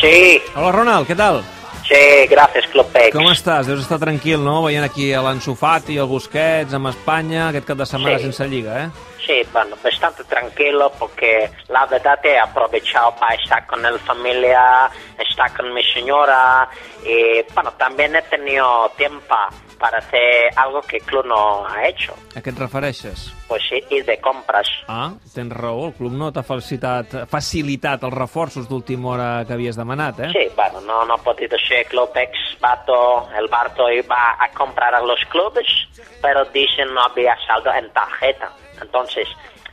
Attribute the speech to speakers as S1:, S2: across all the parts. S1: Sí,
S2: Hola, Ronald, què tal?
S1: sí, gracias, Clopex.
S2: Com estàs? Deus estar tranquil, no? Veient aquí l'Ansufati, el Busquets, amb Espanya, aquest cap de setmana
S1: Sí.
S2: sense Lliga, eh?
S1: Sí, bueno, bastante tranquilo porque la verdad he aprovechado para estar con la familia, estar con mi señora y bueno, también he tenido tiempo para hacer algo que el club no ha hecho,
S2: A què et refereixes?
S1: pues sí, ir de compras.
S2: Ah, tens raó, el club no t'ha facilitat, facilitat els reforços d'última hora que havies demanat, eh?
S1: Sí, bueno, no, no ha podido ser Clopex, Bato, el Barto iba a comprar a los clubes, pero dicen no había saldo en tarjeta. Entonces,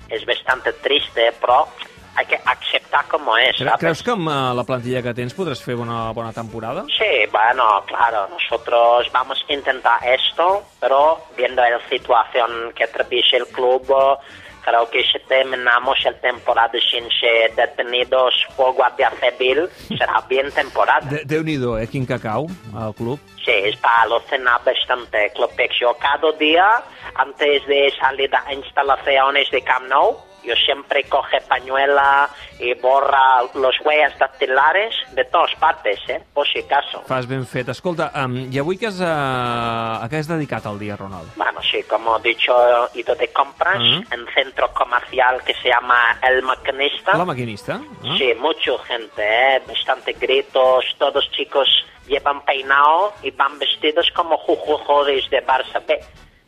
S1: es bastante triste, pero hay que aceptar como es.
S2: Cre
S1: ¿sabes?
S2: Creus que amb eh, la plantilla que tens podràs fer una bona temporada?
S1: Sí, bueno, claro, nosotros vamos a intentar esto, pero viendo la situación que atraviesa el club, creo que si terminamos la temporada sin ser detenidos por Guardia Civil, será bien temporada.
S2: De Déu-n'hi-do, eh? Quin cacau al club.
S1: Sí, está lo cena bastante Clopex. Yo cada día, antes de salir a instalaciones de Camp Nou, yo siempre coge pañuela y borra los huellas dactilares de todas partes, ¿eh? Por si acaso.
S2: Fas ben fet. Escolta, um, i avui què has, uh, a què has dedicat el dia, Ronald?
S1: Bueno, sí, como he dicho, he ido de compras
S2: Ujú.
S1: en un centro comercial que se llama El Maquinista.
S2: La maquinista? Eh?
S1: Ah. Sí, mucha gente, ¿eh? bastante gritos, todos chicos llevan peinado y van vestidos como jugadores de Barça B.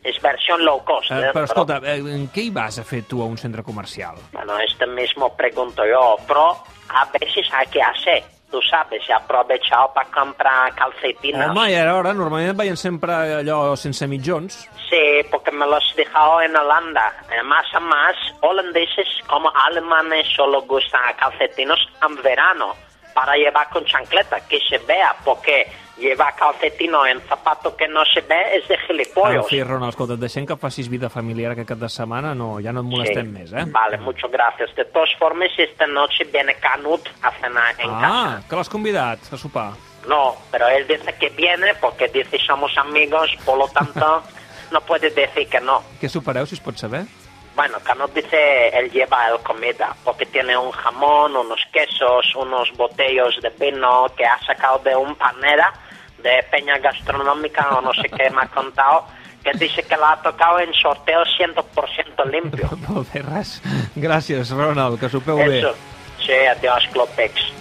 S1: Es versión low cost.
S2: Eh,
S1: ¿eh?
S2: però
S1: Pero,
S2: escolta, eh, en què hi vas a fer tu a un centre comercial?
S1: bueno, este mismo pregunto yo, pero a veces hay que hacer. Tú sabes, he aprovechado para comprar calcetinas.
S2: Home, i ara, normalment et veien sempre allò sense mitjons.
S1: Sí, porque me los he dejado en Holanda. Eh, Más a más, holandeses como alemanes solo gustan a calcetinos en verano para llevar con chancleta, que se vea, porque llevar calcetino en zapato que no se ve es de
S2: En
S1: gilipollas.
S2: fi, Ronald, escolta, et deixem que facis vida familiar aquest cap de setmana, no, ja no et molestem més, eh?
S1: Vale, muchas gracias. De todas formas, esta noche viene Canut a cenar en
S2: Ah,
S1: casa.
S2: que l'has convidat a sopar.
S1: No, pero él dice que viene porque dice somos amigos, por lo tanto, no puede decir que no.
S2: Què sopareu, si es pot saber?
S1: Bueno, Canot dice él lleva el comida, porque tiene un jamón, unos quesos, unos botellos de vino que ha sacado de un panera de peña gastronómica o no sé qué me ha contado, que dice que la ha tocado en sorteo 100% limpio.
S2: Molt bé, res. Gràcies, Ronald, que sopeu bé.
S1: Eso. Sí, adiós, Clopex.